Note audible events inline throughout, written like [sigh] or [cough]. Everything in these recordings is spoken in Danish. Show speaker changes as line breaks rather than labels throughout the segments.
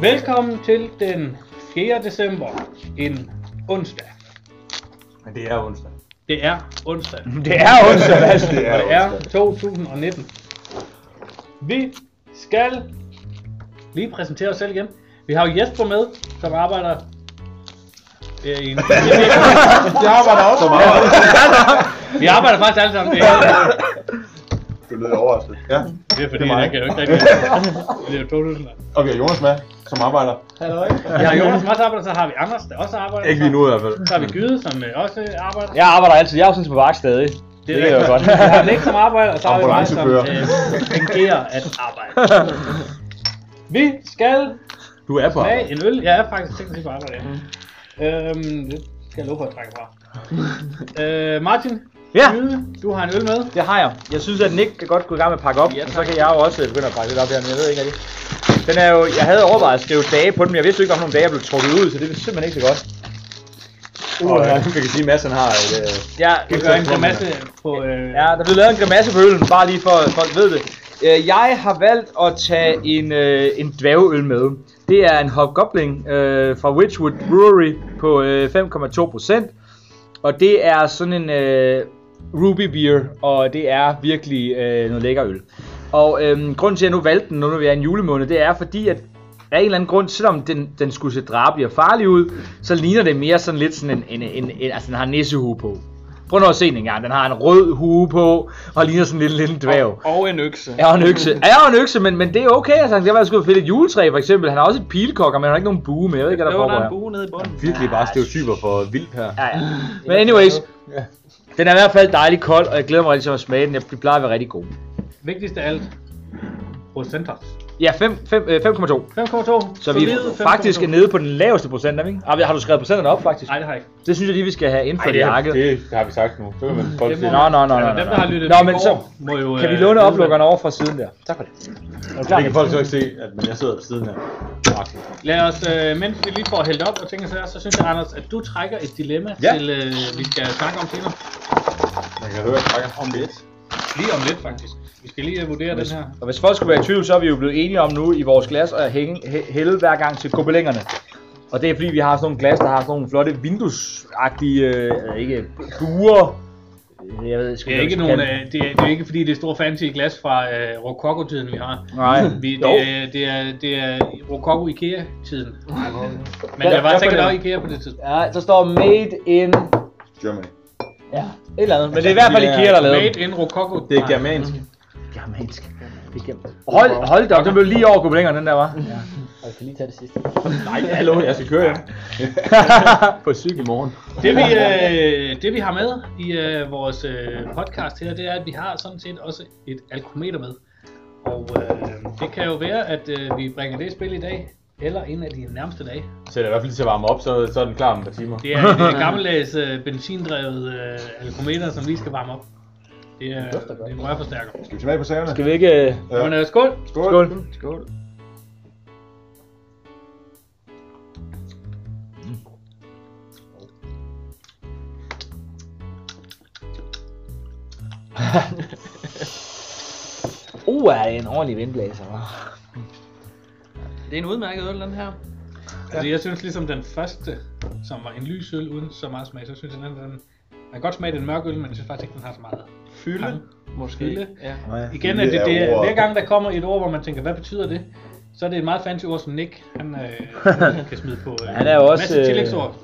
Velkommen til den 4. december, en onsdag.
Men det er onsdag.
Det er onsdag,
Det er
[laughs]
onsdag, Mads. Det
og det er 2019. Vi skal lige præsentere os selv igen. Vi har jo Jesper med, som arbejder øh, i en...
[laughs] [laughs] Jeg arbejder også. Som [laughs] arbejder.
Vi arbejder faktisk alle sammen. Det er,
Du lød overrasket. Ja.
det er fordi,
Det er mig.
jeg kan jo ikke rigtig... Det er jo 2000.
[laughs] Okay, Jonas med, som arbejder.
Halløj.
Vi har Jonas, som også arbejder, så har vi Anders, der også arbejder.
Ikke lige nu i hvert fald.
Så har vi Gyde, som øh, også arbejder.
Jeg arbejder altid. Jeg er jo sådan set på vagt stadig. Det, det er jo
rigtigt.
godt.
Vi har Nick som arbejder, og så har vi mig som
Ambulancefører.
øh, fungerer at arbejde. Vi skal
Du er på
smage
arbejde.
en øl. Jeg er faktisk tænkt til på arbejde. ja. Øhm, det skal jeg love for at trække fra. Øh, Martin,
Ja.
Gyde, du har en øl med.
Det har jeg. Jeg synes, at Nick kan godt gå i gang med at pakke op,
Ja,
ja, og så
tak.
kan jeg jo også øh, begynde at pakke lidt op her, men jeg ved ikke rigtig. Den er jo, jeg havde overvejet at skrive dage på den, men jeg vidste jo ikke, om nogle dage jeg blev trukket ud, så det er simpelthen ikke så godt.
Og øh, jeg kan sige, at Mads han har et... Øh,
Ja,
Vi gør en grimasse på... Øh,
ja, der blev lavet en grimasse på øllen, bare lige for at folk ved det. Øh, Jeg har valgt at tage en, øh, en dværgeøl med. Det er en hobgoblin øh, fra Witchwood Brewery på øh, 5,2 procent. Og det er sådan en øh, ruby beer, og det er virkelig øh, noget lækker øl. Og øh, grunden til, at jeg nu valgte den, nu når vi er i en julemåned, det er fordi, at af en eller anden grund, selvom den, den skulle se drabelig og farlig ud, så ligner det mere sådan lidt sådan en, en, en, en altså den har nissehue på. Prøv nu at se den engang, den har en rød hue på, og ligner sådan en lille, lille dværg.
Og en økse.
Jeg er en økse. Jeg er en økse, men, men det er okay. Altså, han kan være skudt fedt et juletræ, for eksempel. Han har også et pilkokker, men han har ikke nogen bue med. Jeg ved ikke, hvad der
Der
foregår
var der en
her.
bue nede i bunden.
virkelig bare stereotyper for vildt her.
Ja, [laughs] ja. Men anyways, den er i hvert fald dejlig kold, og jeg glæder mig rigtig til at smage den. Jeg de plejer at være rigtig god.
Vigtigst af alt, procenter.
Ja, fem- fem- øh, 5,2.
5,2.
Så vi er faktisk er nede på den laveste procent, er vi ikke? Ah, har du skrevet procenterne op, faktisk?
Nej, det har jeg ikke.
Det synes jeg lige, vi skal have indført i
det,
arket.
det har vi sagt nu. Så kan man folk
Det må
sige.
Nå, nå, nå, nå,
Altså,
nå,
dem, der har lyttet
nå. Nå,
med
men
i
så
går, må jo...
kan vi
øh,
låne
vide,
oplukkeren over fra siden der.
Tak for det. Det kan folk så ikke se, at men jeg sidder ved siden her. Agtigt.
Lad os, øh, mens vi lige får hældt op og tænker så, så synes jeg, Anders, at du trækker et dilemma ja.
Ja.
til, øh, vi skal snakke om senere.
Man kan høre, at jeg snakker om lidt.
Lige om lidt, faktisk. Vi skal lige øh, vurdere den her.
Og hvis folk skulle være i tvivl, så er vi jo blevet enige om nu i vores glas at hænge, hæ- hælde hver gang til gobelingerne. Og det er fordi, vi har sådan nogle glas, der har sådan nogle flotte vinduesagtige, øh, ikke, buer. Jeg ved sgu
Det er ikke
hvad
nogen,
man skal
øh, det, er, det er ikke fordi, det er store fancy glas fra øh, Rococo-tiden, vi har.
kalde det. Nej.
Vi, det,
Jo.
er, det, er, det er Rococo-Ikea-tiden. Men
Ja,
der var
ja,
sikkert
for
også
det.
Ikea på det tidspunkt.
Ja, så står made in...
Germany.
Ja, et eller andet. Men det er i
Altså,
hvert fald
de er-
Ikea, der lavede
Made
den.
in Rococo.
Det er germansk.
Germansk. Det er germansk. Hold, hold da op, den blev lige over gobelingerne, den der var.
Nej, [laughs] hallo, jeg skal køre hjem. på cykel i morgen.
Det vi, øh, det vi har med i øh, vores øh, podcast her, det er, at vi har sådan set også et alkometer med. Og øh, det kan jo være, at øh, vi bringer det i spil i dag, eller en af de nærmeste dage.
Så det er i hvert fald lige til at varme op, så, så er den klar om et par timer.
Det er en øh, gammeldags øh, benzindrevet øh, alkometer, som vi skal varme op. Det er, det er en rørforstærker.
Skal vi tilbage på sagerne?
Skal vi ikke... øh,
Ja.
Men øh, skål!
Skål.
Skål.
Skål.
[laughs] Uh, er det en ordentlig vindblæser, hva'?
Det er en udmærket øl, den her.
Altså, jeg synes ligesom den første, som var en lys øl uden så meget smag, så synes jeg den, den man kan godt smage den mørke øl, men jeg synes faktisk ikke, den har så meget. Fylde?
Måske.
Fylde.
Ja.
Igen,
Fylde
at det, det
er
er,
ordet.
hver gang der kommer et ord, hvor man tænker, hvad betyder det? Så er det et meget fancy ord, som Nick han, øh, kan smide på. Øh,
Han er jo også,
masse
øh,
tillægsord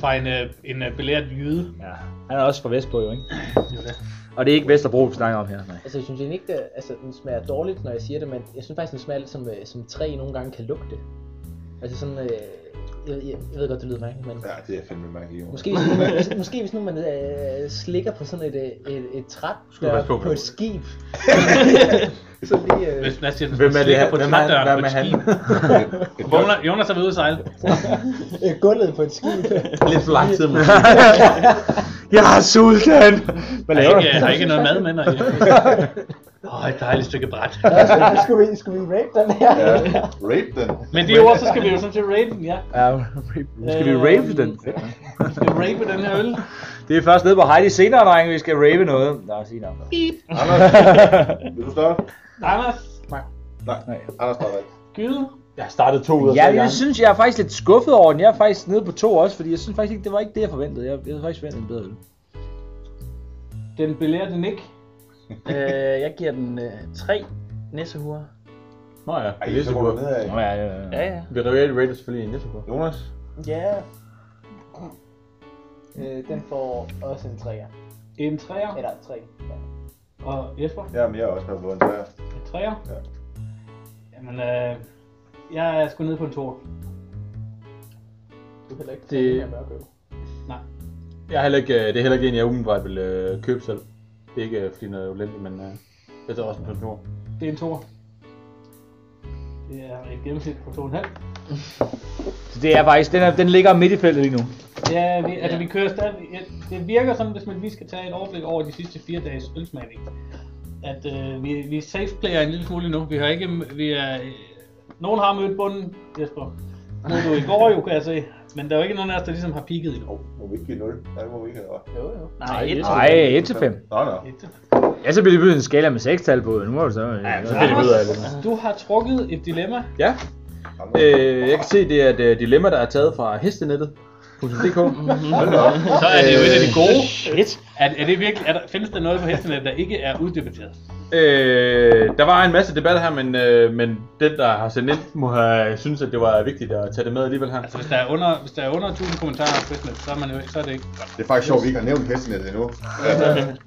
fra en, øh, en øh, belært jyde.
Ja. Han er også fra Vestpå, jo, ikke?
Det er jo det.
Og det er ikke Vesterbro, vi snakker om her, nej.
Altså, jeg synes egentlig ikke, det, altså, den smager dårligt, når jeg siger det, men jeg synes faktisk, den smager lidt som, øh, som træ nogle gange kan lugte. Altså sådan, øh, jeg, jeg, jeg ved godt, det lyder mærkeligt, men
Ja, det er fandme mærkeligt. Måske.
måske, hvis nu man, hvis- måske hvis nu man øh, slikker på sådan et, øh, et, et træt
Skal du
der
passe på
på,
med
et
det? [laughs]
skib. så lige, øh,
Hvis man siger,
Hvem er det her?
på
Hvem er,
trædøren
hvem
på
er
et
han?
skib. [laughs] Jonas- Jonas er ved at sejle.
[laughs] øh, gulvet på et skib.
Lidt for lang tid måske.
Jeg har sulten! Hvad
Der
laver
er
du?
ikke, øh, der er ikke noget mad med, når I Åh, et dejligt stykke bræt.
Altså, skulle, vi, skulle vi rape den her?
Ja. Rape den.
Men de ord, så skal vi jo sådan set rate den, ja.
Ja, skal vi rave den?
Vi skal rate den her øl.
Det er først nede på Heidi senere, drenge, vi skal rave noget. Nå, sig noget. [laughs]
Anders, vil du starte?
Anders,
Nej, Anders starter ikke.
Gyde,
Jeg har startet to ud af
Ja,
tre
jeg
gange.
synes, jeg er faktisk lidt skuffet over den. Jeg er faktisk nede på to også, fordi jeg synes faktisk ikke, det var ikke det, jeg forventede. Jeg, jeg havde faktisk forventet en bedre øl.
Den belærte Nick.
øh, jeg giver den øh, tre næsehure.
Nå ja,
Ej,
det er
så går du
så
nedad.
Nå ja, ja, ja.
Ja, ja.
Vi reelt rater selvfølgelig en næsehur.
Jonas?
Ja.
Øh, den får også en 3'er.
En træer.
Eller 3. Ja.
Og Jesper,
Jamen, jeg er også blevet en træer.
en træer.
Ja.
Jamen, øh, jeg er sgu nede på en tor.
Du kan heller ikke
Det-
det... mørke øl.
Jeg er heller ikke, øh, det er heller ikke en, jeg umiddelbart vil øh, købe selv. Det er ikke øh, fordi noget er ulendigt, men øh, jeg tager også en kontor.
Det er en tor. Det er et gennemsnit på 2,5.
Så det er faktisk, den, er, den ligger midt i feltet lige nu.
Ja, vi, altså vi kører stadig. ja, Det virker sådan, hvis man lige skal tage et overblik over de sidste fire dages ølsmagning. At øh, vi, vi safe player en lille smule nu. Vi har ikke, vi er, øh, nogen har mødt bunden, Jesper. Nu er du i går jo, kan jeg se. Men der er jo ikke nogen af os, der ligesom har peaked endnu.
Åh, må vi ikke give 0? Nej, det må vi ikke have.
Jo, jo.
Nej, et.
Nej, 1 til 5.
Nå, nå.
Ja, så bliver det byttet en skala med 6 tal på. Nu må du så... Ja,
så bliver
[laughs]
det videre, eller?
Du har trukket et dilemma.
Ja,
Jamen,
øh, jeg kan se, det er et øh, dilemma, der er taget fra hestenettet. .dk.
[laughs] Så er det jo et af de gode.
Shit.
Er, er det virkelig, er der, findes der noget på hestenet, der ikke er uddebatteret?
Øh, der var en masse debat her, men, øh, men den, der har sendt ind, må have synes, at det var vigtigt at tage det med alligevel her.
Altså hvis der er under, hvis der er under 1000 kommentarer på hestenet, så er, man jo, ikke- så er det ikke.
Det er faktisk sjovt, at vi ikke har nævnt hestenet endnu.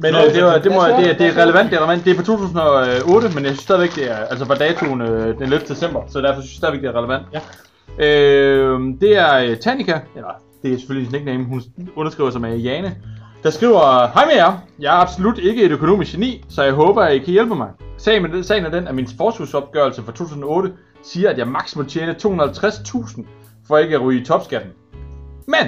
Men øh, det, var, det, må, det, er- det er relevant, det er relevant. Det er fra 2008, men jeg synes stadigvæk, det er altså fra datoen øh, den 11. december, så derfor synes jeg stadigvæk, det er relevant.
Ja.
Øh, det er øh, Tanika, eller det er selvfølgelig hendes nickname, hun underskriver sig med Jane, der skriver, Hej med jer, jeg er absolut ikke et økonomisk geni, så jeg håber, at I kan hjælpe mig. Sagen, med den, sagen er den, at min sportshusopgørelse fra 2008 siger, at jeg maks må tjene 250.000 for ikke at ryge i topskatten. Men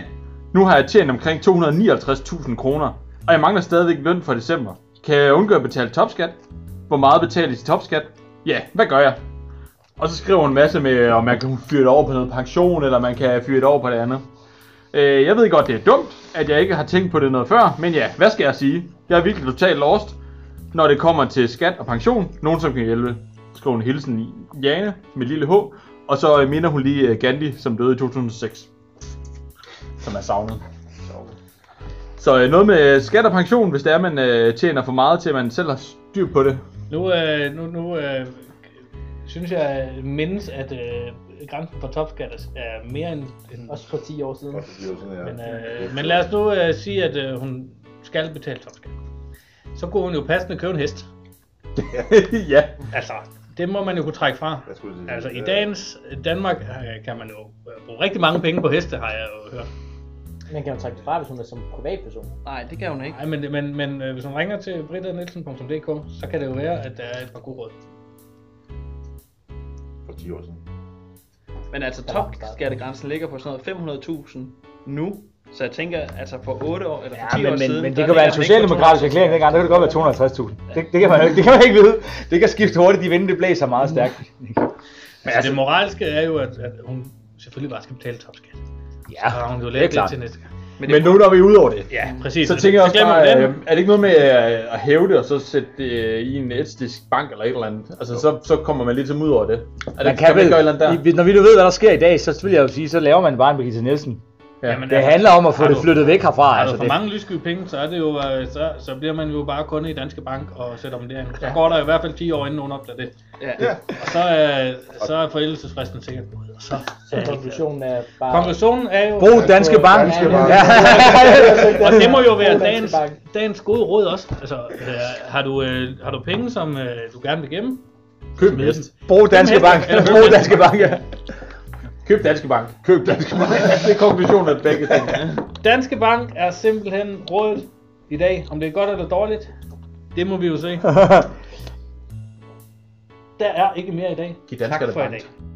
nu har jeg tjent omkring 259.000 kroner, og jeg mangler stadigvæk løn for december. Kan jeg undgå at betale topskat? Hvor meget betaler jeg til topskat? Ja, hvad gør jeg? Og så skriver hun en masse med, om man kan fyre det over på noget pension, eller man kan fyre det over på det andet. Øh, jeg ved godt, det er dumt, at jeg ikke har tænkt på det noget før, men ja, hvad skal jeg sige? Jeg er virkelig totalt lost, når det kommer til skat og pension. Nogen, som kan hjælpe. Skriver hun hilsen i Jane med lille H. Og så øh, minder hun lige øh, Gandhi, som døde i 2006. Som er savnet. Så øh, noget med skat og pension, hvis det er, man øh, tjener for meget til, at man selv har styr på det. [laughs]
Nu, øh, nu, nu øh, synes jeg mindes, at øh, grænsen for topskat er- er mere end... end
Også for 10 år siden.
Godt, det bliver sådan her.
men, øh, men lad os nu øh, sige, at øh, hun skal betale topskat. Så kunne hun jo passende købe en hest.
ja.
Altså, det må man jo kunne trække fra.
Jeg skulle sige,
Altså, i
ja.
dagens Danmark øh, kan man jo øh, bruge rigtig mange penge på heste, har jeg jo hørt.
Man kan jo trække det fra, hvis hun er som privatperson.
Nej, det kan hun ikke.
Nej, men, men, men øh, hvis hun ringer til brittaNielsen.dk, så kan det jo være, at der er et par gode råd.
For 10 år siden.
Men altså topskattegrænsen ligger på sådan noget 500.000 nu. Så jeg tænker, altså for 8 år eller for 10
Ja,
år
men, men,
siden...
men
der
det kan være en
ligger den ikke på
socialdemokratisk erklæring dengang, der kan det godt være 250.000. Det, det, kan man, jo ikke- det kan man ikke vide. Det kan skifte hurtigt, de vinde, det blæser meget stærkt.
Men altså, det moralske er jo, at, at hun selvfølgelig bare skal betale topskat.
Ja,
Så har hun jo
det er
lært lidt
klart.
til næste gang.
Men,
Men nu når vi er ude over det.
Ja, præcis.
Så tænker jeg også
glemmer
bare,
vi
øh, er det ikke noget med øh, at hæve det, og så sætte det øh, i en etisk bank eller et eller andet? Altså, så, så kommer man ligesom ud over det. Er det,
Man kan,
man
vel,
ikke gøre et eller andet der?
i- når vi nu ved, hvad der sker i dag, så vil jeg jo sige, så laver man bare en Birgitte Nielsen.
Ja.
Jamen,
Det
altså,
handler om at få
har
det
du-
flyttet væk herfra.
Har du
Altså,
for
det,
mange lyssky penge, så, er det jo, øh, så, så bliver man jo bare kunde i Danske Bank og sætter dem derind. Så går der i hvert fald 10 år, inden nogen opdager det.
Ja.
Ja.
Og så, øh, så er forældelsesfristen sikkert gået. og Så,
Så konklusionen er bare...
konklusionen er jo,
brug Danske Bank.
Danske
Bank.
Ja.
og det må jo være
Brug Danske
dagens,
Bank.
dagens gode råd også. Altså, øh, har, du, øh, har du penge, som øh, du gerne vil gemme?
Køb en hest.
Brug Danske Bank. Brug Danske Bank, ja.
Køb Danske Bank. Køb Danske
[laughs]
Bank. det er konklusionen af begge
[laughs]
ting.
Danske Bank er simpelthen rådet i dag. Om det er godt eller dårligt, det må vi jo se. Der er ikke mere i dag.
Giv danskerne
tak for i
bank.
dag.